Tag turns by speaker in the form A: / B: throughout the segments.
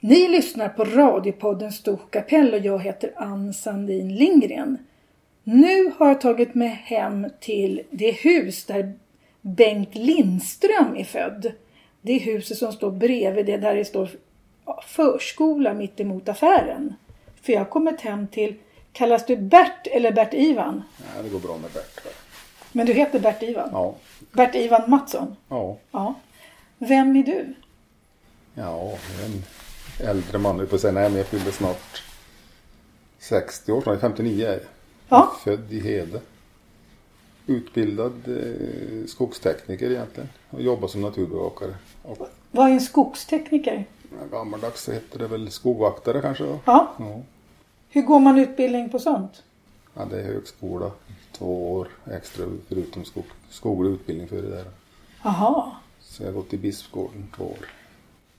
A: Ni lyssnar på radiopodden Storkapell och jag heter Ann Sandin Lindgren. Nu har jag tagit mig hem till det hus där Bengt Lindström är född. Det är huset som står bredvid det där det står ja, förskola mitt emot affären. För jag har kommit hem till, kallas du Bert eller Bert-Ivan?
B: Nej, det går bra med Bert.
A: Men du heter Bert-Ivan?
B: Ja.
A: Bert-Ivan Mattsson?
B: Ja.
A: Ja. Vem är du?
B: Ja, en äldre man nu på säga. Nej, men jag fyllde snart 60 år. snart. 59 är jag.
A: Ja.
B: Född i Hede. Utbildad eh, skogstekniker egentligen. Och jobbar som naturbevakare. Och
A: Vad är en skogstekniker?
B: gammaldags så hette det väl skogvaktare kanske då?
A: Ja.
B: Ja.
A: Hur går man utbildning på sånt?
B: Ja, det är högskola. Två år extra förutom skog, skoglig utbildning för det där.
A: Jaha.
B: Så jag har gått i Bispgården två år.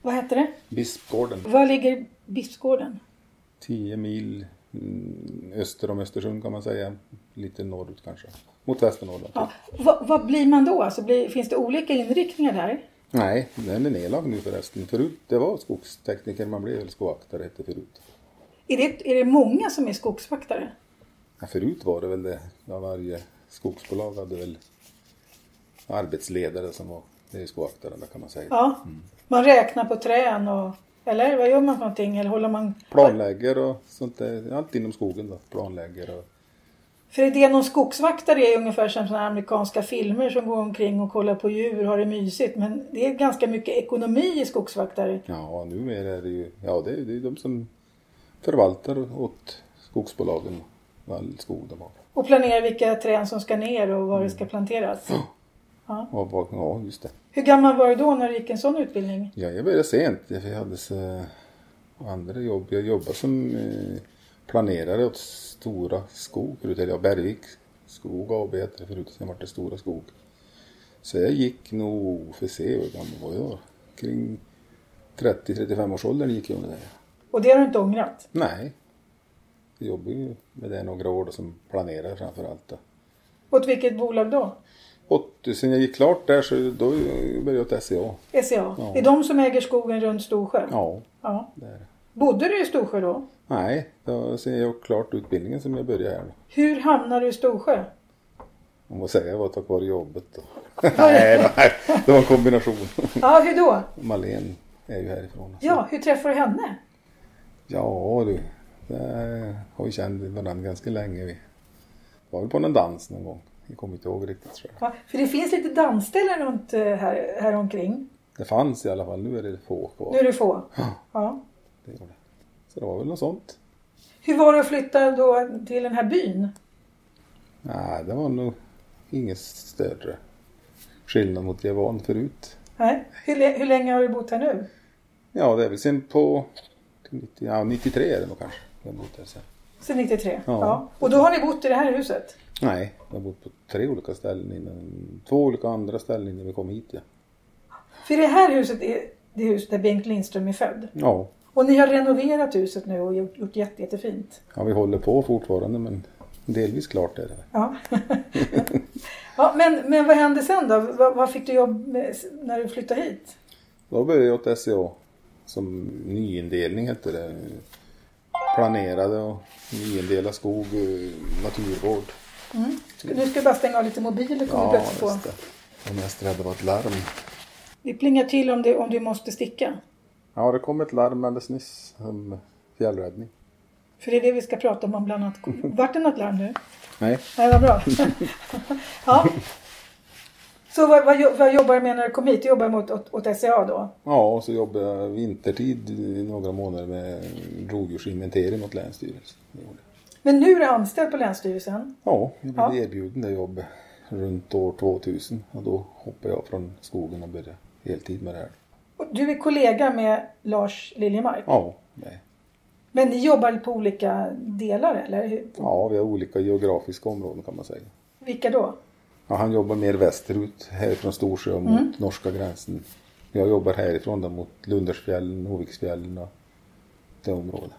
A: Vad heter det?
B: Bispgården.
A: Var ligger Bispgården?
B: 10 mil mm, öster om Östersund kan man säga. Lite norrut kanske. Mot Västernorrland.
A: Ja. Va, vad blir man då? Alltså blir, finns det olika inriktningar där?
B: Nej, den är nedlagd nu förresten. Förut det var skogstekniker, man blev väl skovaktare hette förut.
A: Är det, är det många som är skogsvaktare?
B: Ja, förut var det väl det. Ja, varje skogsbolag hade väl arbetsledare som var det är skovaktaren där kan man säga.
A: Ja. Man räknar på trän och... Eller vad gör man för någonting? Eller håller man...
B: Planlägger och sånt där. Allt inom skogen då. Planlägger och...
A: För idén om skogsvaktare är ungefär som såna här amerikanska filmer som går omkring och kollar på djur och har det mysigt. Men det är ganska mycket ekonomi i skogsvaktare.
B: Ja, numera är det ju... Ja, det är ju det är de som förvaltar åt skogsbolagen all skog de har.
A: Och planerar vilka trän som ska ner och var det ska planteras.
B: Ja, vad- ja just det.
A: Hur gammal var du då när du gick en sån utbildning?
B: Ja, jag började sent. Jag hade så andra jobb. Jag jobbade som eh, planerare åt Stora Skog förut. Eller ja, Bergvik Skog AB hette det förut. Sen vart det Stora Skog. Så jag gick nog, för se hur gammal var jag? Kring 30-35 års åldern gick jag med det.
A: Och det har du inte ångrat?
B: Nej. Jag jobbade ju med det några år då, som planerare framför allt. Då.
A: Åt vilket bolag då?
B: Och sen jag gick klart där så då började jag åt E SCA.
A: SCA? E Det är de som äger skogen runt Storsjö?
B: Ja,
A: Ja.
B: där.
A: Bodde du i Storsjö då?
B: Nej, då ser jag klart utbildningen som jag började här.
A: Hur hamnade du i Storsjö?
B: Om man säger var tack vare jobbet då. nej, då, nej, det var en kombination.
A: Ja, hur då?
B: Malin är ju härifrån. alltså.
A: Ja, hur träffade du henne?
B: Ja du, det har vi känt varandra ganska länge. Vi Det var väl på någon dans någon gång. Jag kommer inte ihåg riktigt tror jag.
A: Ja, för det finns lite dansställen runt eh, här, här omkring.
B: Det fanns i alla fall, nu är det få
A: Nu är
B: kvar.
A: det få. Ja.
B: Det gör det. Så det var väl något sånt.
A: Hur var det att flytta då till den här byn?
B: Nej, det var nog inget större skillnad mot det jag var van förut.
A: Nej. Hur, lä- hur länge har du bott här nu?
B: Ja, det är väl sen på 90, ja, 93 är det nog kanske. Jag har bott där sen.
A: Sen 93?
B: Ja.
A: Och då har ni bott i det här huset?
B: Nej, jag har bott på tre olika ställen innan. Två olika andra ställen innan vi kom hit. Ja,
A: För det här huset är det hus där Bengt Lindström är född.
B: ja,
A: Och ni har renoverat huset nu och gjort, gjort jätte, jättefint.
B: ja vi håller på fortfarande men delvis klart är det.
A: Ja. ja, men, men vad hände sen då? Vad, vad fick du jobb med när du flyttade hit?
B: Då började jag åt SCA. Som nyindelning hette det. Planerade och nyindela skog, eh, naturvård.
A: Nu ska jag bara stänga av lite mobiler kommer plötsligt på.
B: just det. Jag är mest rädd var ett larm.
A: Det plingar till om, det, om du måste sticka.
B: Ja, det kom ett larm alldeles nyss om fjällräddning.
A: För det är det vi ska prata om bland annat. Vart det något larm nu?
B: Nej,
A: Nej, vad bra. ja. Så vad, vad, jo- vad jobbar du med när du kom hit? Du jobbar mot, åt, åt SCA då?
B: Ja, och så jobbade jag vintertid i några månader med rovdjursinventering åt Länsstyrelsen. Det gjorde jag.
A: Men nu är du anställd på Länsstyrelsen.
B: Ja, jag blev
A: Ja.
B: erbjuden det jobbet runt år 2000 och då hoppade jag från skogen och började heltid med det här.
A: Och du är kollega med Lars Liljemark.
B: Ja, nej.
A: Men ni jobbar på olika delar eller? Hur-
B: ja, vi har olika geografiska områden kan man säga.
A: Vilka då?
B: Ja, han jobbar mer västerut, härifrån Storsjö och mot norska gränsen. Jag jobbar härifrån då, mot Lundersfjällen, Hoviksfjällen och det området.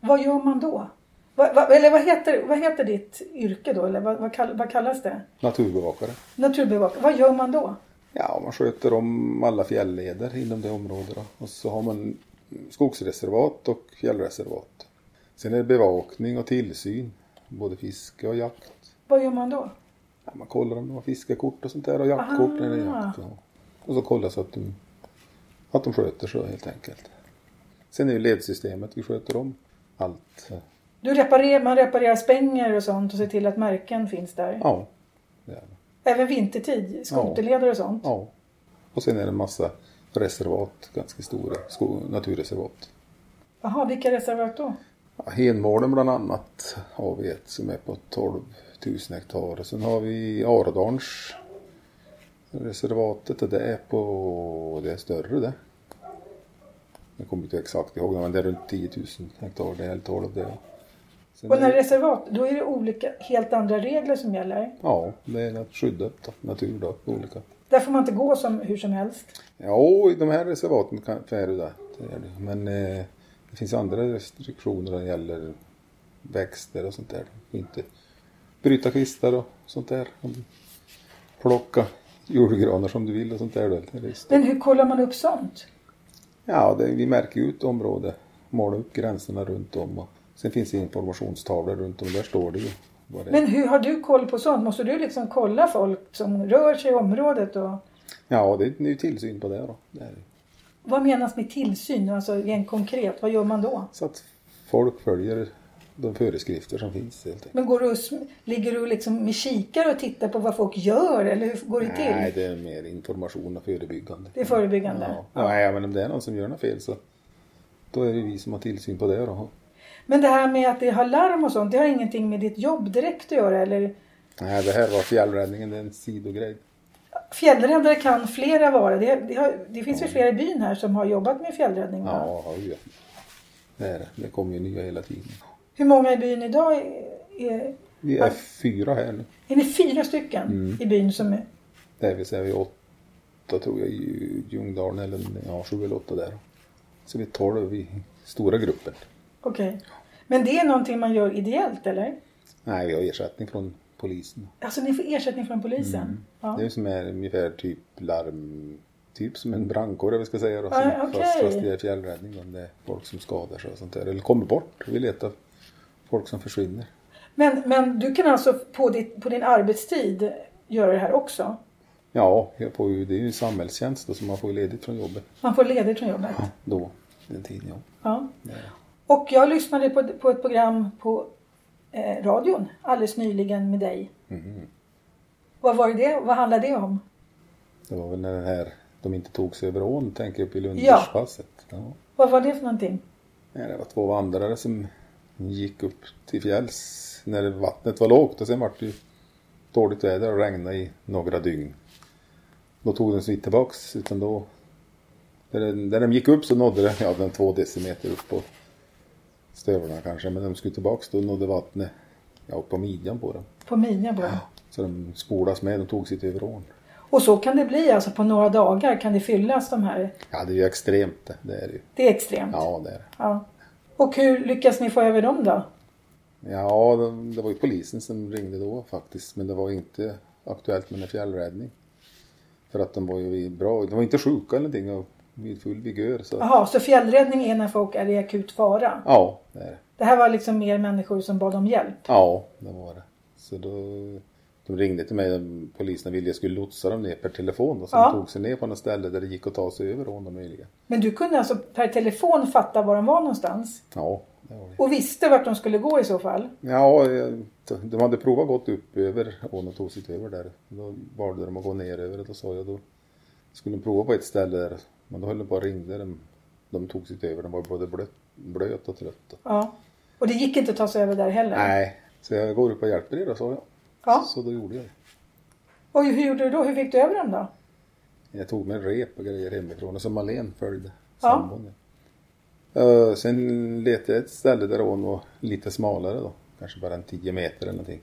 A: Vad gör man då? Va, va, eller vad heter, vad heter ditt yrke då? Eller vad, vad, kall, vad kallas det?
B: Naturbevakare.
A: Naturbevakare. Vad gör man då?
B: Ja, man sköter om alla fjällleder inom det området. Då. Och så har man skogsreservat och fjällreservat. Sen är det bevakning och tillsyn, både fiske och jakt.
A: Vad gör man då?
B: Ja, man kollar om de har fiskekort och sånt där och jaktkort när det är jakt. Och, och så kollas att de, att de sköter sig helt enkelt. Sen är ju ledsystemet vi sköter om. Allt.
A: Du reparerar, man reparerar spänger och sånt och ser till att märken finns där.
B: Ja, det är det.
A: Även vintertid, skoterleder och sånt.
B: Ja. Och sen är det en massa reservat, ganska stora sko- naturreservat.
A: Jaha, vilka reservat då?
B: Ja, Henmålen bland annat har vi ett som är på 12 000 hektar. Sen har vi Aradalns reservatet och det är på, det är större det. Jag kommer inte exakt ihåg men det är runt 10 000 hektar, det är 12 det. Sen
A: Och när
B: är,
A: det är reservat, då är det olika, helt andra regler som gäller.
B: ja, det är skyddat av natur då, på olika.
A: Där får man inte gå som, hur som helst.
B: Ja, i de här reservaten kan kan du det. det, gör det. Men eh, det finns andra restriktioner när det gäller växter och sånt där. Du får Inte bryta kvistar och sånt där. Plocka julgranar som du vill och sånt där. då. Det är just-
A: Men hur kollar man upp sånt?
B: Ja, det, vi märker ut området, målar upp gränserna runt om. Och sen finns det informationstavlor runt om, där står det ju. Vad det är.
A: Men hur har du koll på sånt? Måste du liksom kolla folk som rör sig i området? Och...
B: Ja, det är ju tillsyn på det då. Det är det.
A: Vad menas med tillsyn? Alltså rent konkret, vad gör man då?
B: Så att folk följer de föreskrifter som finns helt enkelt.
A: Men går du och, sm- ligger du liksom med kikare och tittar på vad folk gör? Eller hur går det till?
B: Nej, det är mer information och förebyggande.
A: Det är förebyggande.
B: Ja. Nej, men om det är någon som gör något fel så då är det vi som har tillsyn på det då.
A: Men det här med att det har larm och sånt, det har ingenting med ditt jobb direkt att göra? Eller?
B: Nej, det här var fjällräddningen, det är en sidogrej.
A: Fjällräddare kan flera vara. Det, det, har, det finns ju flera i byn här som har jobbat med fjällräddning. va?
B: Ja, ja, ja. Det är det. Det kommer ju nya hela tiden.
A: Hur många i byn idag? Är, är,
B: Vi är fyra här nu.
A: är ni fyra stycken
B: Mm.
A: i byn som är...
B: Det vill säga vi är åtta tror jag i Ljungdalen eller ja, sju eller åtta där. Så vi är tolv i stora gruppen.
A: Okej. Men det är någonting man gör ideellt eller?
B: Nej, vi har ersättning från polisen.
A: Alltså ni får ersättning från polisen? Ja.
B: Mm. Det är ju som är ungefär typ larm, typ som en brandkår eller vad ska jag säga då.
A: Ja,
B: Som- fast,
A: okej.
B: fast det är fjällräddning om det är folk som skadar sig och sånt där. Eller kommer bort. Vi letar folk som försvinner.
A: Men, men du kan alltså på, ditt, på din arbetstid göra det här också?
B: Ja, jag får ju, det är ju samhällstjänst då så man får ju ledigt från jobbet
A: Man får ledigt från jobbet?
B: då. Den tiden ja.
A: Ja.
B: Ja.
A: Och jag lyssnade på, på ett program på eh, radion alldeles nyligen med dig. Vad var det? Vad handlade det om?
B: Det var väl när den här, de inte tog sig över ån tänker jag på i Lundersfasset. Ja.
A: Vad var det för någonting?
B: Nej, det var två vandrare som gick upp till fjälls när vattnet var lågt och sen var det ju dåligt väder och regnade i några dygn. Då tog de sig inte tillbaks utan då när de, när de gick upp så nådde det, ja den två decimeter upp på stövlarna kanske, men när de skulle tillbaks då nådde vattnet ja, upp på midjan på dem.
A: På mina bara.
B: Så de spolas med, de tog sig till över ån.
A: Och så kan det bli alltså på några dagar kan det fyllas de här.
B: Ja det är ju extremt det, det är det ju.
A: Det är extremt.
B: Ja det är det.
A: Ja. Och hur lyckas ni få över dem då?
B: Ja, det- det var ju polisen som ringde då faktiskt. Men det var inte aktuellt med en fjällräddning. För att de var ju i bra, de var inte sjuka eller någonting och vid full vigör. Så
A: Jaha, så fjällräddning är när folk är i akut fara?
B: ja, det är det.
A: Det här var liksom mer människor som bad om hjälp?
B: Ja, det var det. Så då, de ringde till mig, de- polisen ville jag skulle lotsa dem ner per telefon. Och så
A: Ja.
B: de tog sig ner på något ställe där det gick att ta sig över ån om möjligen.
A: Men du kunde alltså per telefon fatta var de var någonstans?
B: Ja, det var det.
A: Och visste vart de skulle gå i så fall?
B: Ja, jag- de hade provat gått upp över ån och tog sig över där. Då valde de att gå ner över det. Då sa jag då skulle de prova på ett ställe där. Men då höll de på och ringde. De, de tog sig över. De var både blöt, blöt och trött.
A: Ja. Och det gick inte att ta sig över där heller?
B: Nej. Så jag går upp och hjälper er då, sa jag.
A: Ja.
B: Så då gjorde jag det.
A: Och hur gjorde du då? Hur fick du över dem då?
B: Jag tog med rep och grejer hemifrån och så Malén följde
A: Ja.
B: sambon. Eh, Sen letade jag ett ställe där ån var lite smalare då. Kanske bara en 10 meter eller någonting.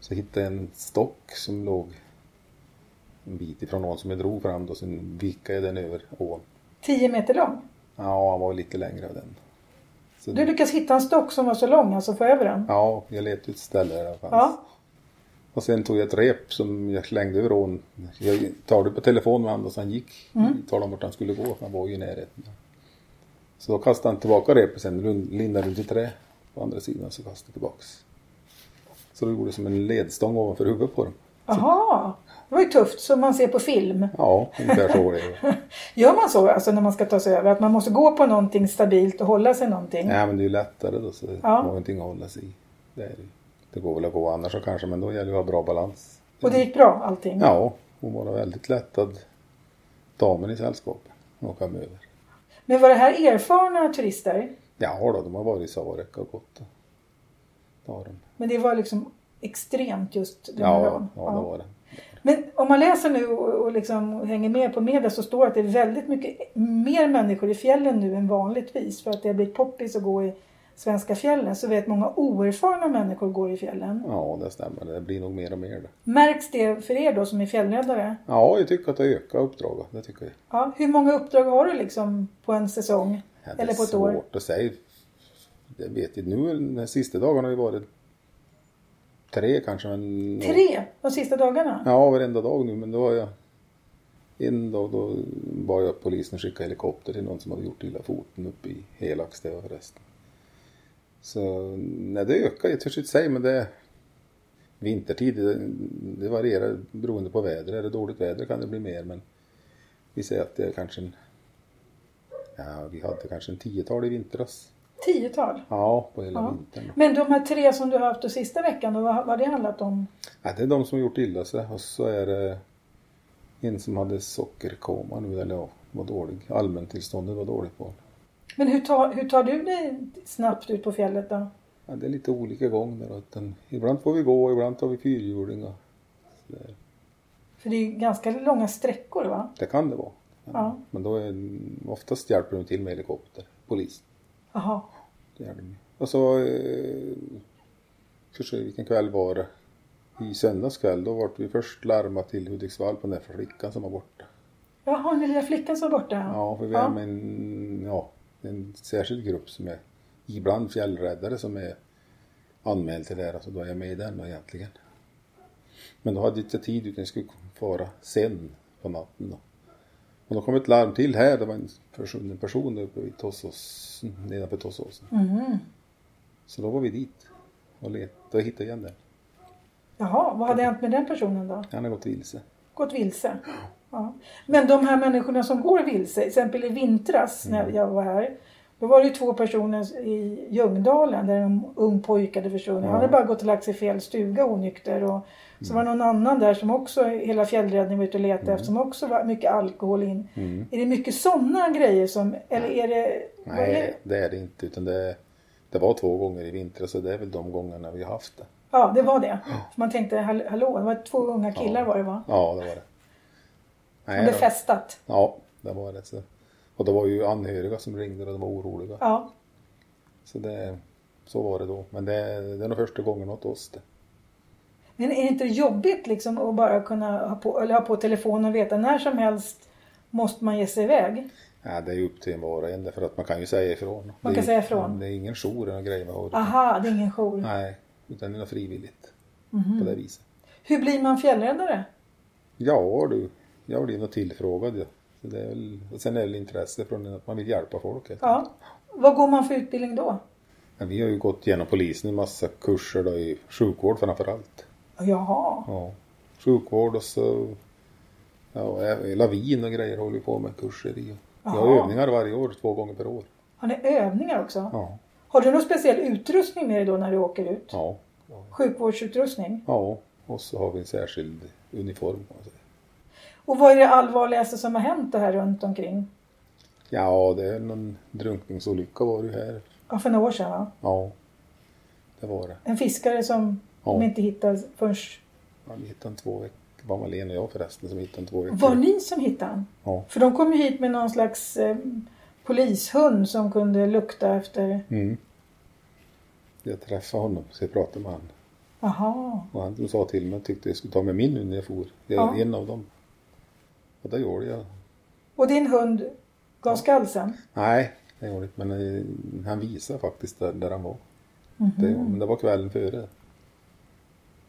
B: Så hittade jag en stock som låg en bit ifrån ån som jag drog fram då. Sen vikade jag den över ån.
A: 10 meter lång?
B: Ja, han var lite längre av den. Så
A: Du lyckas hitta en stock som var så lång, alltså få över den?
B: Ja, jag letade ett ställe där det fanns.
A: Ja.
B: Och sen tog jag ett rep som jag slängde över ån.
A: Mm.
B: Jag talade på telefon med honom och han gick. Talade om vart han skulle gå. Han var ju i närheten. Så då kastade han tillbaka repet sen, lin- lindade runt i trä på andra sidan så kastade han tillbaks. Så då gjorde det som en ledstång ovanför huvudet på dem.
A: Jaha, det var ju tufft som man ser på film.
B: Ja, ungefär så var det.
A: Gör man så alltså när man ska ta sig över? Att man måste gå på någonting stabilt och hålla sig någonting?
B: Nej men det är ju lättare då så
A: Ja.
B: man har ingenting att hålla sig i. Det, är det. ju. det går väl att gå annars så kanske men då gäller det att ha bra balans.
A: Och det gick bra allting?
B: Ja, hon var väldigt lättad. Damen i sällskapet. Hon kom över.
A: Men var det här erfarna turister?
B: Ja då, de har varit i Sarek och gått. och- Det har de.
A: Men det var liksom extremt just den här
B: Ja, ja,
A: dagen.
B: ja, det var det.
A: Men om man läser nu och och liksom hänger med på media så står det att det är väldigt mycket mer människor i fjällen nu än vanligtvis. För att det har blivit poppis att gå i svenska fjällen. Så vet många oerfarna människor går i fjällen.
B: Ja, det stämmer. Det blir nog mer och mer det.
A: Märks det för er då som är fjällräddare?
B: Ja, jag tycker att det ökar uppdraget. Det tycker jag.
A: Ja, hur många uppdrag har du liksom på en säsong?
B: Ja, det
A: eller på
B: är
A: ett år?
B: svårt att säga. Det vet jag. Nu de sista dagarna har det varit tre kanske. Men...
A: Tre de sista dagarna?
B: Ja, varenda dag nu. Men då har jag... En dag då var jag polisen och skickade helikopter till någon som hade gjort illa foten uppe i Helax det var förresten. Så nej, det ökar. Jag törs inte säga men det... Vintertid, det, det varierar beroende på väder. Är det dåligt väder kan det bli mer men vi säger att det är kanske en... Ja, vi hade kanske en tiotal i vintras.
A: Tiotal?
B: Ja, på hela
A: Ja.
B: vintern.
A: Men de här tre som du har haft den sista veckan, då, vad vad har det handlat om?
B: Ja, det är de som har gjort illa sig och så är det en som hade sockerkoma nu eller ja, var dålig. Allmäntillståndet var dåligt på honom.
A: Men hur tar, hur tar du dig snabbt ut på fjället då?
B: ja, Det är lite olika gång där. Utan ibland får vi gå, ibland tar vi fyrhjuling. och så där.
A: För det är ju ganska långa sträckor va?
B: Det kan det vara.
A: Ja.
B: Men då är, oftast hjälper de till med helikopter, polis.
A: Jaha.
B: Det gör de ju. Och så, eh, försöker, vilken kväll var det? I söndags kväll, då var vi först larma till Hudiksvall på den där flickan som var borta.
A: Jaha, den lilla flickan som var borta?
B: Ja, för vi är med en, ja, en särskild grupp som är ibland fjällräddare som är anmäld till det här. Alltså då är jag med i den då egentligen. Men då hade jag inte tid utan jag skulle fara sen på natten då. Och då kom ett larm till här. Det var en person, en person uppe vid Tossås, nedanför Tossåsen.
A: Mhm.
B: Så då var vi dit och letade och hittade igen den.
A: Jaha, vad hade hänt med den personen då?
B: Han har gått vilse.
A: Gått vilse? Ja. Men de här människorna som går vilse, till exempel i vintras när
B: Mm.
A: jag var här. Då var det ju två personer i Ljungdalen där en ung pojke hade försvunnit. Han hade bara gått och lagt sig i fel stuga onykter. Och så
B: Mm.
A: var det någon annan där som också, hela fjällräddningen var ute och letade efter, som också var mycket alkohol in.
B: Mm.
A: Är det mycket sådana grejer som, eller är det... vad är det?
B: Nej, det är det inte. Utan det, det var två gånger i vinter så det är väl de gångerna vi har haft det.
A: Ja, det var det. För man tänkte, hall- hallå, det var två unga killar var det va?
B: Ja, det var det.
A: De hade
B: då-
A: festat.
B: Ja, det var det. Så. Och det var ju anhöriga som ringde och de var oroliga.
A: Ja.
B: Så, det, så var det då. Men det, det är nog första gången åt oss det.
A: Men är det inte jobbigt liksom att bara kunna ha på, eller ha på telefonen och veta när som helst måste man ge sig iväg?
B: Ja, det är ju upp till en var och en därför att man kan ju säga ifrån.
A: kan
B: det är,
A: säga ifrån.
B: Det är ingen jour eller grejer med håret.
A: Aha, det är ingen jour.
B: Nej, utan det är något frivilligt.
A: Mhm.
B: På det viset.
A: Hur blir man fjällräddare?
B: Ja du, jag blev nog tillfrågad. Ja. Så det är väl, och sen är det väl intresse från en att man vill hjälpa folk. helt
A: Ja. Vad går man för utbildning då?
B: Men vi har ju gått igenom polisen en massa kurser då i sjukvård framför allt.
A: Jaha.
B: Ja. Sjukvård och så ja, ä- lavin och grejer håller vi på med kurser i. Vi har
A: Jaha.
B: övningar varje år, två gånger per år.
A: Har ni övningar också?
B: Ja.
A: Har du någon speciell utrustning med dig då när du åker ut?
B: Ja.
A: Sjukvårdsutrustning?
B: ja. Och så har vi en särskild uniform. kan man säga.
A: Och vad är det allvarligaste som har hänt det här runt omkring?
B: Ja, det är någon drunkningsolycka var det ju här.
A: Ja, för några år sedan va?
B: Ja, det var det.
A: En fiskare som
B: Ja.
A: de inte hittade förrän...
B: Ja, vi hittade en två veckor. Det var Malena och jag förresten som hittade en två veckor.
A: Var ni som hittade han?
B: Ja.
A: För de kom ju hit med någon slags eh, polishund som kunde lukta efter...
B: Mm. Jag träffade honom så jag pratade med honom.
A: Jaha.
B: Och han sa till mig tyckte jag skulle ta med min nu när jag for. Jag
A: Ja.
B: är en av dem. Och det gjorde jag.
A: Och din hund gav skalsen?
B: Nej, det gjorde inte. Men eh, han visade faktiskt där, där han var.
A: Mhm.
B: Det
A: Mm.
B: gjorde, men det var kvällen före.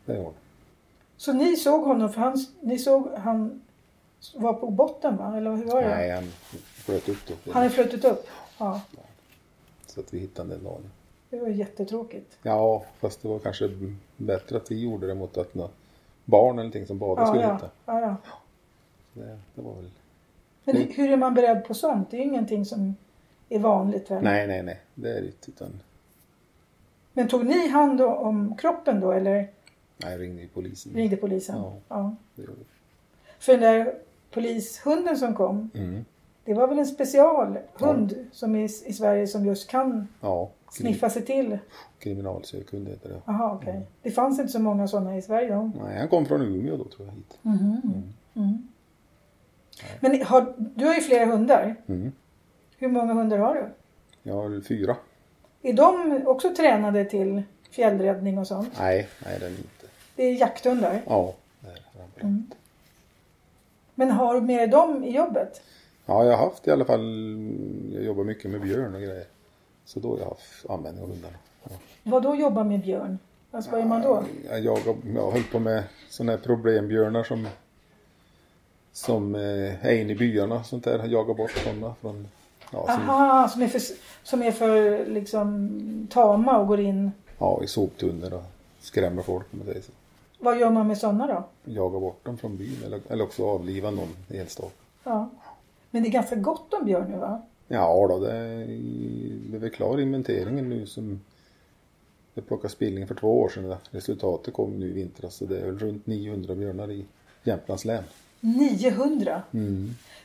B: Det gjorde han.
A: Så ni såg honom för han, ni såg han var på botten va? Eller hur var det?
B: Nej, han flöt upp då.
A: Han hade flutit upp. Ja,
B: Så att vi hittade den dagen.
A: det var jättetråkigt.
B: Ja, fast det var kanske b- bättre att vi gjorde det mot att nå- barn eller någonting som bara
A: Ja,
B: skulle
A: ja,
B: hitta.
A: ja, ja.
B: Det, det var väl...
A: Men
B: Mm.
A: hur är man beredd på sånt? Det är ju ingenting som är vanligt väl?
B: Nej, nej, nej. Det är det inte. Utan,
A: Men tog ni hand o- om kroppen då eller
B: nej, jag ringde ju polisen.
A: ringde polisen?
B: Ja. Det gjorde vi.
A: För den där polishunden som kom,
B: Mm.
A: det var väl en specialhund som är i Sverige som just kan
B: Ja, krim,
A: sniffa sig till?
B: kriminalsökhund heter det.
A: Aha, okej. Det fanns inte så många sådana i Sverige då?
B: Nej, han kom från Umeå då tror jag hit.
A: Mm. Men har, du har ju flera hundar.
B: Mm.
A: Hur många hundar har du?
B: Jag har väl fyra.
A: Är de också tränade till fjällräddning och sånt?
B: Nej, nej den är inte.
A: Det är jakthundar.
B: Ja, där ramlade mm.
A: Men har du med dig dem i jobbet?
B: Ja, jag har haft i alla fall, jag jobbar mycket med björn och grejer. Så då har jag haft användning av hundarna. Ja.
A: Vad då jobba med björn? Alltså vad gör man då?
B: Jag, jagar- jag höll på med sådana här problembjörnar som, som eh, är inne i byarna och sånt där. Jag jagar bort sådana från, ja, som,
A: Aha, som är för, som är för liksom tama och går in.
B: ja, i soptunnor och skrämmer folk om man säger så.
A: Vad gör man med sådana då?
B: Jagar bort dem från byn eller, eller också avliva någon enstaka.
A: Ja. Men det är ganska gott om björn nu va?
B: Ja då, det är, det är väl klar inventeringen nu som jag plockade spillningen för två år sedan. Resultatet kom nu i vintras så det är väl runt 900 björnar i Jämtlands län.
A: 900!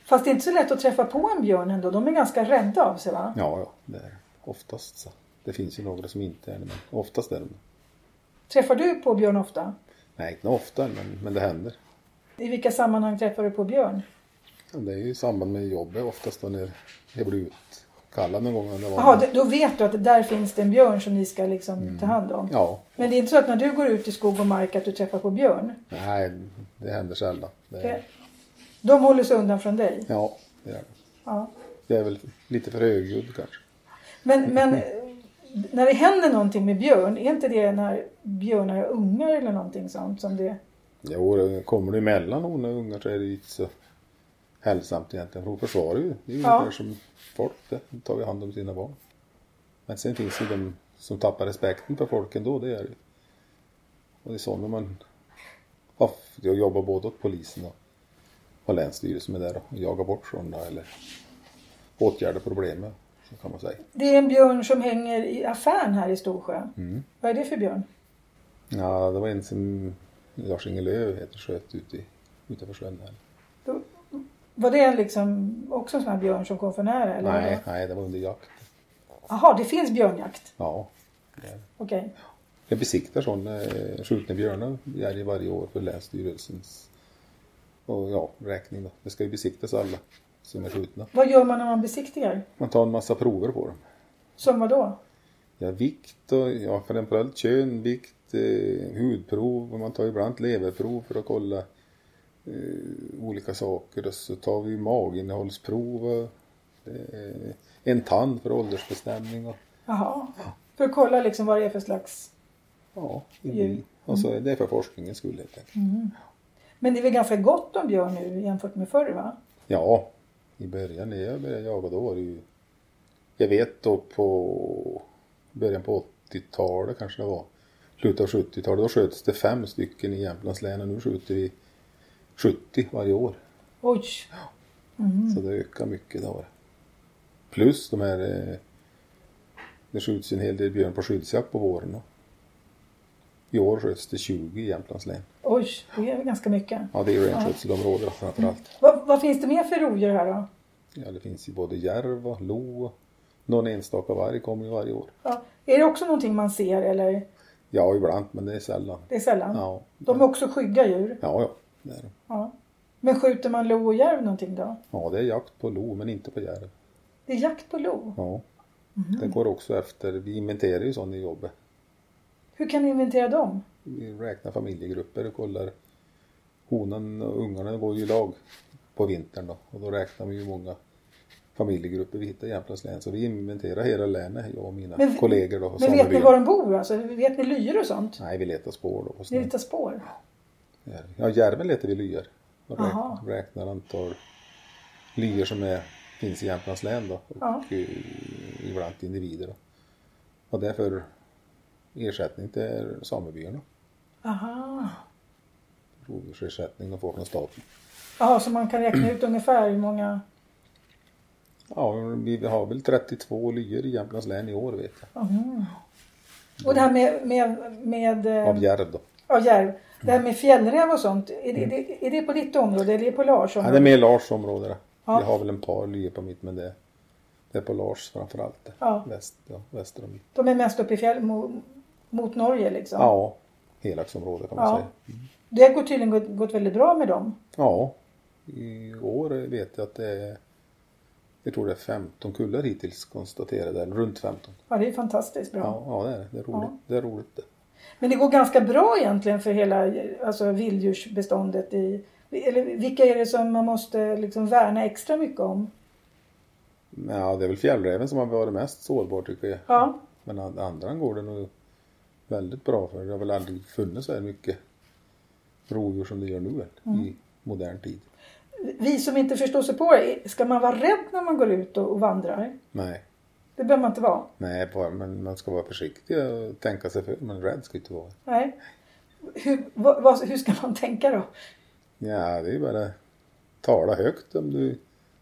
A: Fast det är inte så lätt att träffa på en björn ändå. De är ganska rädda av sig va?
B: Ja, ja, det är oftast så. Det finns ju några som inte är det, men oftast är det
A: Träffar du på björn ofta?
B: Nej, inte ofta, men, men det händer.
A: I vilka sammanhang träffar du på björn?
B: Ja, Det är ju i samband med jobbet oftast då när jag blir utkallad någon gång. När det var
A: Jaha, d- då vet du att där finns det en björn som ni ska liksom ta hand om.
B: Ja,
A: Men det är inte så att när du går ut i skog och mark att du träffar på björn?
B: nej, det händer sällan. Det,
A: Det- De håller sig undan från dig?
B: Ja, det är det.
A: Ja.
B: Jag är väl lite för högljudd kanske.
A: Men, men eh, när det händer någonting med björn, är inte det när björnar är ungar eller någonting sånt? Som det...
B: Jo, det- kommer du emellan hon och ungar så är det ju inte så hälsamt egentligen. För hon försvarar ju. Det är ju
A: Ja.
B: ungefär som folk. Det De tar ju hand om sina barn. Men sen finns ju de som tappar respekten för folk ändå. Det är det ju. Och det är sådana man... Ja, f- Jag jobbar både åt polisen och, och länsstyrelsen med det där och jagar bort sådana eller åtgärdar problemet. Så kan man säga.
A: det är en björn som hänger i affären här i Storsjö.
B: Mm.
A: Vad är det för björn?
B: Ja, det var en som Lars-Inge Lööf heter sköt ute i, utanför sjön här.
A: Då- Var det liksom också en sån här björn som kom för nära? Eller
B: Nej, nej, det var under jakt.
A: Jaha, det finns björnjakt?
B: Ja,
A: Okej.
B: Jag besiktar sådana eh, skjutna björnar i älg varje år för Länsstyrelsens och ja, räkning. Då. Det ska ju besiktas alla som är skjutna.
A: Vad gör man när man besiktigar?
B: Man tar en massa prover på dem.
A: Som vadå?
B: Ja, vikt och ja, framförallt kön, vikt, eh, hudprov och man tar ibland leverprov för att kolla eh, olika saker. Och så tar vi maginnehållsprov, och, eh, en tand för åldersbestämning och
A: Jaha. För att kolla liksom vad det är för slags...
B: ja,
A: Djur.
B: och så är det för forskningens skull helt enkelt.
A: Men det är väl ganska gott om björn nu jämfört med förr va?
B: Ja, i början när jag började jaga då var det ju... Jag vet då på början på 80-talet kanske det var. Slutet av 70-talet, då sköts det fem stycken i Jämtlands län och nu skjuter vi 70 varje år.
A: Oj!
B: Så det ökar mycket det har det. Plus de här... eh, Det skjuts ju en hel del björn på skyddsjakt på våren. då. I år sköts det 20 i Jämtlands län.
A: Oj, det är ganska mycket.
B: Ja, det är ju renskötselområdet framförallt.
A: Vad, vad finns det mer för rovdjur här då?
B: Ja, det finns ju både järv och lo. och Någon enstaka varg kommer ju varje år.
A: Ja. Är det också någonting man ser eller
B: Ja, ibland, men det är sällan.
A: det är sällan?
B: Ja, ja,
A: De är också skygga djur.
B: ja. Det är, de.
A: Ja. Men skjuter man lo och järv någonting då?
B: ja, det är jakt på lo, men inte på järv.
A: Det är jakt på lo.
B: Ja.
A: Mhm.
B: Det går också efter, vi inventerar ju sådana i jobbet.
A: Hur kan ni inventera dem?
B: Vi räknar familjegrupper och kollar. Honan och ungarna går ju i lag på vintern då. Och då räknar vi ju många familjegrupper vi hittar i Jämtlands län. Så vi inventerar hela länet, jag och mina
A: Men vi-
B: kollegor då.
A: Men vet ni
B: samebyn.
A: var de bor alltså? Vet ni lyor och sånt?
B: Nej, vi letar spår då. på
A: Ni
B: snön.
A: hittar spår?
B: Järv. Ja, järven letar vi lyor. Och
A: Aha.
B: räknar, räknar antal lyor som är finns i Jämtlands län då och
A: Ja.
B: eh, ibland till individer. Då. Och därför ersättning till samebyarna.
A: Aha.
B: Rovdjursersättning de får från staten.
A: Jaha, så man kan räkna ut ungefär hur många...
B: Ja, vi har väl 32 lyor i Jämtlands län i år vet jag.
A: Mhm. Och det här med, med, med eh,
B: Av järv Mm. då.
A: ja, järv. Det här med fjällräv och sånt, är det, det, är det på ditt område eller är det på Lars
B: Mm. Ja, det
A: område?
B: är mer Lars område. det.
A: Ja.
B: Jag har väl en par lyor på mitt men det, det är på Lars framförallt. det.
A: Ja.
B: Väst, ja, väster om mitt.
A: De är mest uppe i fjäll mo- mot Norge liksom.
B: Ja, Helaksområdet kan man
A: Ja.
B: säga.
A: Det har tydligen gått, gått väldigt bra med dem.
B: Ja, i år vet jag att det är, jag tror det är 15 kullar hittills konstaterade, eller runt 15.
A: Ja, det är fantastiskt bra.
B: Ja, ja det är det. Det är roligt.
A: Ja.
B: Det är roligt det.
A: Men det går ganska bra egentligen för hela alltså, vilddjursbeståndet. I, eller vilka är det som man måste liksom värna extra mycket om?
B: Men ja, det är väl fjällräven som har varit mest sårbar tycker jag.
A: Ja,
B: Men an- andra går det nog väldigt bra för. Det har väl aldrig funnits så här mycket rovdjur som det gör nu väl, i modern tid.
A: vi som inte förstår sig på det, ska man vara rädd när man går ut och, och vandrar?
B: Nej,
A: Det behöver man inte vara.
B: nej bara, men man ska vara försiktig och tänka sig för. Men rädd ska inte vara.
A: Nej. Hur, vad, vad, hur ska man tänka då?
B: Ja, det är ju bara tala högt om du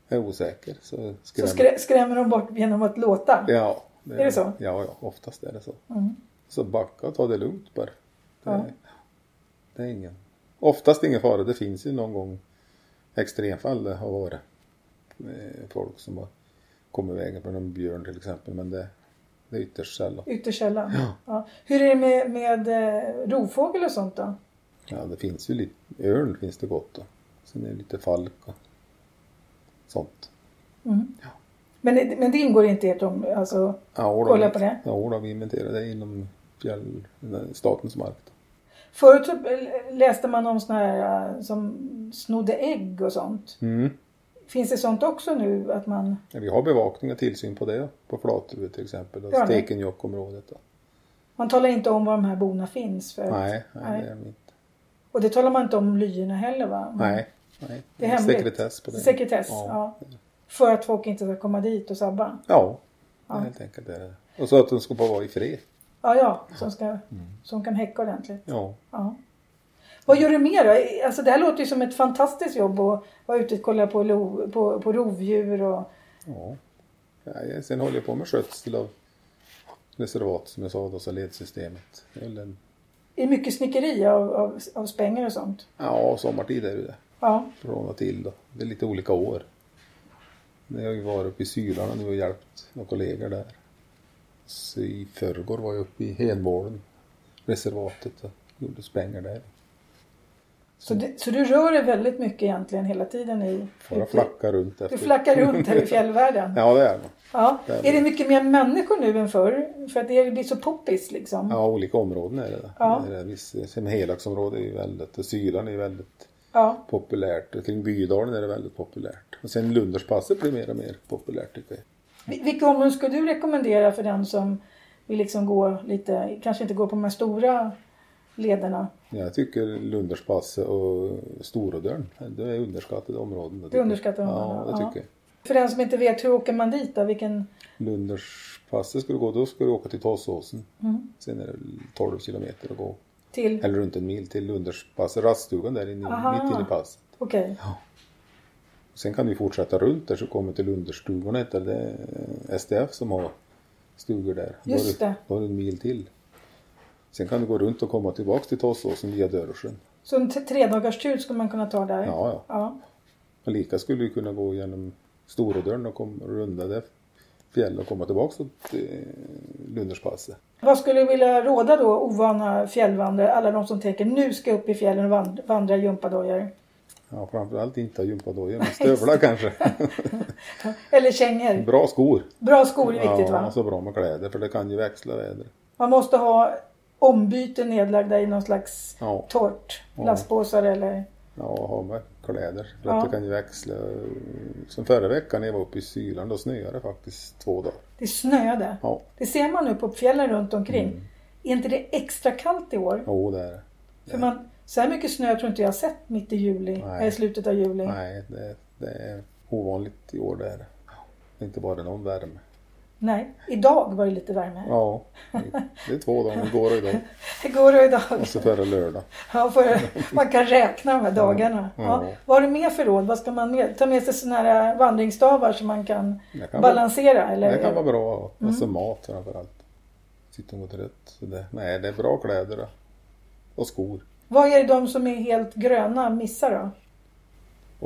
B: är osäker. Så
A: Så
B: skrämmer
A: skrä, skrämmer de bort genom att låta?
B: Ja.
A: Är det så?
B: Ja, ja, oftast är det så.
A: Mm.
B: Så backa och ta det lugnt bara. Det,
A: Ja.
B: det är ingen... Oftast ingen fara. Det finns ju någon gång extremfall det har varit. eh, Folk som har kommit vägen från en björn till exempel. Men det, det är ytterst sällan.
A: Ytterst sällan. Ja. Hur är det med, med eh, rovfågel och sånt då?
B: Ja, det finns ju lite... Örn finns det gott om. Sen är det lite falk och sånt.
A: Men, det- men det ingår inte i ert om, alltså,
B: Ja, och då-
A: Kolla på det.
B: Ja, och då har vi inventerat det inom fjäll, statens mark. Då.
A: Förut så läste man om såna här eh, som snodde ägg och sånt.
B: Mm.
A: Finns det sånt också nu att man...
B: Ja, Vi har bevakning och tillsyn på det, på Flatruet till exempel och
A: Ja, nej.
B: Stekenjokkområdet. då.
A: Man talar inte om var de här borna finns. För,
B: Nej, nej,
A: Nej.
B: det är de inte.
A: Och det talar man inte om lyorna heller va?
B: Nej, nej.
A: Det är hemligt.
B: Sekretess på det.
A: Sekretess,
B: Ja,
A: ja. För att folk inte ska komma dit och sabba.
B: ja.
A: Ja.
B: Det är helt enkelt det är det. Och så att de ska bara vara i fred.
A: Ja, ja, som, ska,
B: Mm.
A: som kan häcka ordentligt.
B: Ja.
A: Ja. Vad gör du mer då? Alltså det här låter ju som ett fantastiskt jobb att vara ute och kolla på, lo, på, på rovdjur och...
B: ja. Nej, sen håller jag på med skötsel av reservat som jag sa då, så ledsystemet. Det är väl en-
A: Det är mycket snickeri av, av, av spänger och sånt.
B: Ja, sommartid är det ju det.
A: Ja,
B: Från och till då. Det är lite olika år. Jag har ju varit uppe i Sylarna nu och hjälpt några kollegor där. Så I förrgår var jag uppe i Hedmålen, reservatet, och gjorde spränger där.
A: så, det, så du rör dig väldigt mycket egentligen hela tiden i...
B: Bara flacka runt efter.
A: Du flackar runt här i fjällvärlden.
B: Ja, det är det.
A: Ja.
B: Där.
A: Är det mycket mer människor nu än förr? För att det blir så poppis liksom.
B: Ja, olika områden är det.
A: Ja.
B: det är viss, som Helaksområdet är ju väldigt, och Sylan är ju väldigt
A: Ja.
B: populärt. Och kring Bydalen är det väldigt populärt. Och sen Lunderspasset blir mer och mer populärt tycker jag.
A: Vil- Vilka områden skulle du rekommendera för den som vill liksom gå lite, kanske inte gå på de här stora lederna?
B: Jag tycker Lunderspasse och Storodörn, det är underskattade områden.
A: Det är underskattade
B: områden? Ja,
A: områden,
B: det
A: ja.
B: tycker jag.
A: För den som inte vet, hur åker man dit då? Vilken...
B: Lunderspasse ska du gå, då ska du åka till Tåssåsen.
A: Mm.
B: Sen är det 12 kilometer att gå,
A: Till?
B: eller runt en mil till Lunderspasse, raststugan där inne,
A: Aha.
B: mitt inne i passet.
A: Okej.
B: Sen kan du fortsätta runt där så kommer du till Lunderstugorna, heter det. det eh, är STF som har stugor där. Då har
A: Just
B: du-
A: det.
B: Då har du en mil till. Sen kan du gå runt och komma tillbaka till Tåssåsen via Dörrösen.
A: Så en t- tredagarstur skulle man kunna ta där?
B: Ja, ja.
A: ja.
B: Men lika skulle du kunna gå genom Storodörren och kom, runda det fjället och komma tillbaka till eh, Lunderspasset.
A: Vad skulle du vilja råda då ovana fjällvandrare, alla de som tänker nu ska jag upp i fjällen och vand- vandra i gympadojor?
B: Ja, framförallt inte ha gympadojor, men stövlar kanske.
A: Eller kängor?
B: Bra skor.
A: Bra skor är viktigt
B: ja, alltså-
A: va?
B: och så bra med kläder för det kan ju växla väder.
A: Man måste ha ombyten nedlagda i någon slags
B: Ja.
A: torrt.
B: Ja.
A: Plastpåsar eller...
B: Ja, och ha med kläder för
A: Ja.
B: att det kan ju växla. Som förra veckan när jag var uppe i Syland, då snöade det faktiskt två dagar.
A: Det snöade.
B: Ja, Mm.
A: Det ser man nu på fjällen runt omkring. Är inte det extra kallt i år?
B: jo det är det.
A: För man, så här mycket snö tror inte jag har sett mitt i juli,
B: Nej.
A: Nej. i slutet av juli.
B: Nej, det, det är ovanligt i år det är det. Inte bara någon värme.
A: Nej, idag var det lite värme.
B: Ja, det är två dagar. Igår och idag.
A: Igår och idag.
B: Och så förra Alltså lördag.
A: Ja, för, man kan räkna de här dagarna.
B: Ja.
A: Ja. Vad har du med för råd? Vad ska man med? ta med sig sådana här eh, vandringsstavar som man kan
B: Det kan vara-
A: balansera? Eller?
B: Det kan vara bra. Mm. Alltså mat framförallt. Sitta mot rätt. Så det, nej, det är bra kläder då. och skor.
A: Vad är det de som är helt gröna missar då?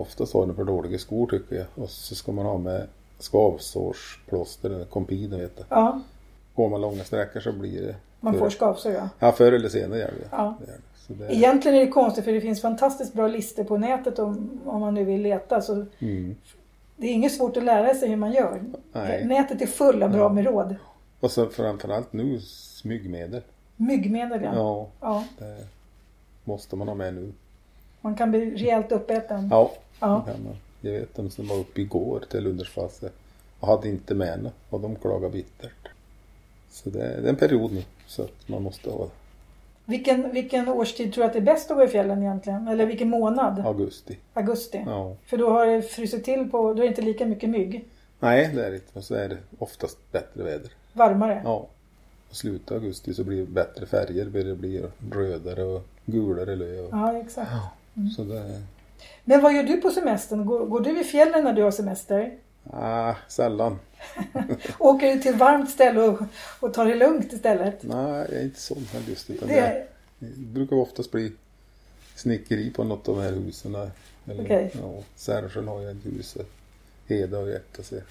B: Oftast har de för dåliga skor tycker jag. Och så ska man ha med skavsårsplåster eller kompiner vet du.
A: Ja,
B: Går man långa sträckor så blir det... Eh.
A: man
B: förr-
A: får skavsår ja.
B: Ja, förr eller senare gör det
A: Ja.
B: det. Gör det. Så det
A: Egentligen är det konstigt för det finns fantastiskt bra listor på nätet om, om man nu vill leta. Så
B: mm.
A: det är inget svårt att lära sig hur man gör.
B: Nej.
A: Nätet är full av bra med råd.
B: Och så framförallt nu smygmedel.
A: Myggmedel ja. ja.
B: Ja, det måste man ha med nu.
A: Man kan bli rejält uppäten.
B: Ja,
A: Ja.
B: det kan man. Jag vet de som var uppe igår till Lundersfasse och hade inte med henne och de klagade bittert. Så det är, det är en period nu så att man måste ha
A: Vilken, vilken årstid tror du att det är bäst att gå i fjällen egentligen? Eller vilken månad?
B: augusti.
A: Augusti?
B: Ja.
A: För då har det frusit till på, då är det inte lika mycket mygg.
B: Nej, det är det inte. Men så är det oftast bättre väder.
A: Varmare.
B: Ja. Och slutet av augusti så blir det bättre färger. börjar Det blir rödare och gulare löv.
A: Ja, exakt.
B: Så det är
A: Men vad gör du på semestern? Går, går du i fjällen när du har semester?
B: ah, sällan.
A: Åker du till ett varmt ställe och, och tar det lugnt istället?
B: Nej, jag är inte sån augusti. Utan
A: Det-
B: det... det brukar oftast bli snickeri på något av de här husen. där. Eller,
A: Okej.
B: ja, Särsjön har ju ett hus. där. Heda och Jäkta. så jag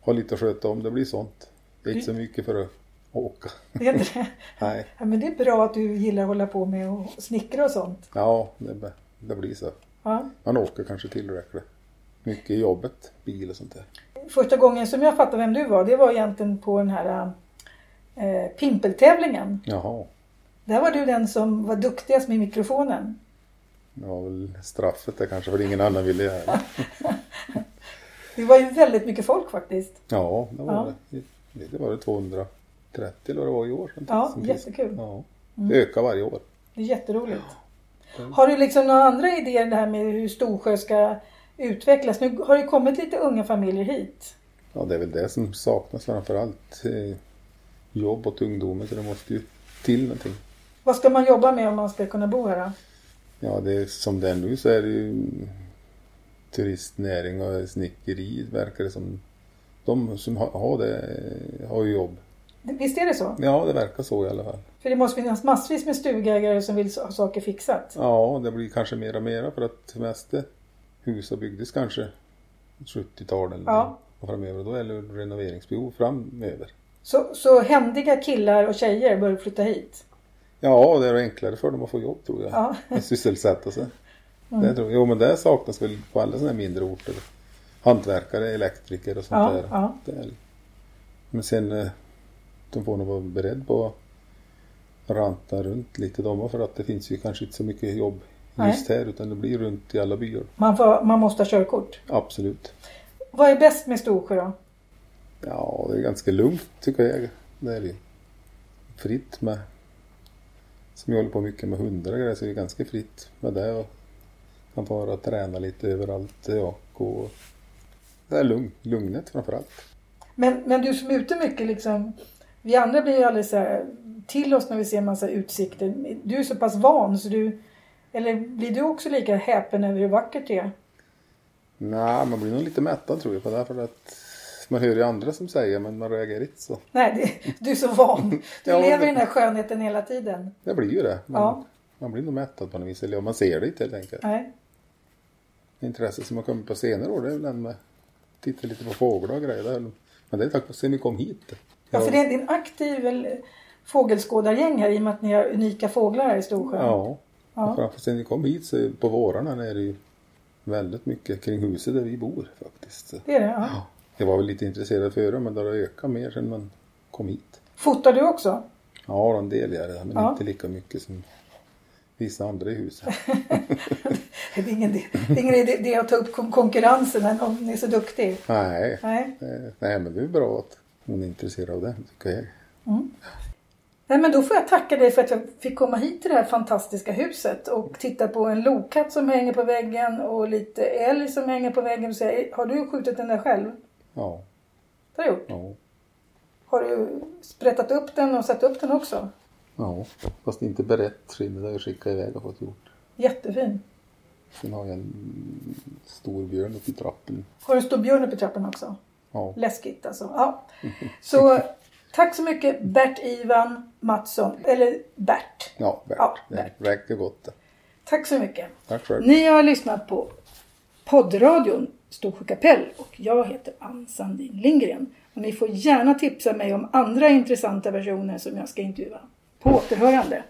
B: Har lite att sköta om. Det blir sånt. Det är inte så
A: Mm.
B: mycket för att åka.
A: Det är inte det.
B: Nej,
A: Ja, men det är bra att du gillar att hålla på med och snickra och sånt.
B: ja, det, det blir så.
A: Ja.
B: Man åker kanske tillräckligt. Mycket i jobbet, bil och sånt där.
A: Första gången som jag fattade vem du var, det var egentligen på den här eh, pimpeltävlingen.
B: Jaha,
A: Där var du den som var duktigast med mikrofonen.
B: det var väl straffet där kanske för ingen annan ville göra.
A: Det var ju väldigt mycket folk faktiskt.
B: Ja, det var
A: Ja.
B: det. Det var det 230 eller vad det var i år. sånt där,
A: Ja,
B: som pris.
A: jättekul. Mm.
B: Ja. Det ökar varje år.
A: Det är jätteroligt. Har du liksom några andra idéer det här med hur Storsjö ska utvecklas? Nu har det kommit lite unga familjer hit.
B: Ja, det är väl det som saknas framför allt. eh, Jobb åt ungdomen, så det måste ju till någonting.
A: Vad ska man jobba med om man ska kunna bo här då?
B: Ja, det är, som det är nu så är det ju mm, turistnäring och snickeri verkar det som. De som har, har det eh, har ju jobb.
A: Visst är det så?
B: Ja, det verkar så i alla fall.
A: För det måste finnas massvis med stugägare som vill ha saker fixat.
B: Ja, det blir kanske mera och mera för att det mesta husen byggdes kanske 70-talet eller
A: Ja.
B: och framöver. Då är det ju renoveringsbehov framöver.
A: Så, så händiga killar och tjejer börjar flytta hit.
B: Ja, det är enklare för dem att få jobb tror jag.
A: Ja.
B: Att sysselsätta sig. Det tror jag. Jo, men det saknas väl på alla sådana här mindre orter. Hantverkare, elektriker och sånt
A: Ja,
B: där.
A: ja.
B: Det är... Men sen, eh, de får nog vara beredd på att ranta runt lite de för att det finns ju kanske inte så mycket jobb
A: Nej.
B: just här utan det blir runt i alla byar.
A: Man, får, man måste ha körkort.
B: Absolut.
A: Vad är bäst med Storsjö då?
B: Ja, det är ganska lugnt tycker jag. Det är det. ju. Fritt med... Som jag håller på mycket med hundar och grejer så är det ganska fritt med det. Och kan fara och träna lite överallt. Ja, gå och... Det är lugn, lugnet framförallt.
A: Men, men du som är ute mycket liksom. Vi andra blir ju alldeles så här, till oss när vi ser en massa utsikter. Du är så pass van så du... Eller blir du också lika häpen över hur vackert det är?
B: Nej, man blir nog lite mättad tror jag på det här för att man hör ju andra som säger men man reagerar inte så.
A: Nej, det, du är så van. Du
B: Ja,
A: lever
B: men-
A: i den här skönheten hela tiden.
B: Det blir ju det. Man,
A: Ja.
B: man blir nog mättad på något vis. Eller ja, man ser det inte helt enkelt.
A: Nej.
B: Intresset som har kommit på senare år det är väl den med titta lite på fåglar och grejer. Det är- Men det är tack vare sen vi kom hit.
A: Ja, för det är en aktiv väl, fågelskådargäng här i och med att ni har unika fåglar här i Storsjön.
B: Ja.
A: Ja.
B: Och framför sen vi kom hit så på vårarna är det ju väldigt mycket kring huset där vi bor faktiskt. Så,
A: Det är det, ja.
B: ja. Jag var väl lite intresserad före men det har ökat mer sedan man kom hit.
A: Fotar du också?
B: Ja, en del gör det men
A: Ja.
B: inte lika mycket som vissa andra i huset.
A: Det är ingen, det är ingen idé idé att ta upp kon- konkurrensen men om ni är så duktig.
B: Nej.
A: Nej.
B: Eh, Nej, men det är bra att hon är intresserad av det tycker jag.
A: Nej, men då får jag tacka dig för att jag fick komma hit till det här fantastiska huset och titta på en lokatt som hänger på väggen och lite älg som hänger på väggen. Så jag, har du skjutit den där själv?
B: Ja,
A: Det har du gjort.
B: Ja.
A: Har du sprättat upp den och satt upp den också?
B: ja. Fast inte berett trim där jag skickade iväg och fått gjort.
A: Jättefin.
B: Sen har jag en stor björn uppe i trappen.
A: Har du en stor björn uppe i trappan också?
B: Ja.
A: Läskigt alltså. Ja. Så tack så mycket Bert-Ivan Mattsson. Eller Bert.
B: Ja, Bert.
A: Ja,
B: Det räcker gott det.
A: Tack så mycket.
B: Tack själv.
C: Ni har lyssnat på poddradion Storsjö kapell och jag heter Ann Sandin Lindgren. Och ni får gärna tipsa mig om andra intressanta personer som jag ska intervjua. På återhörande!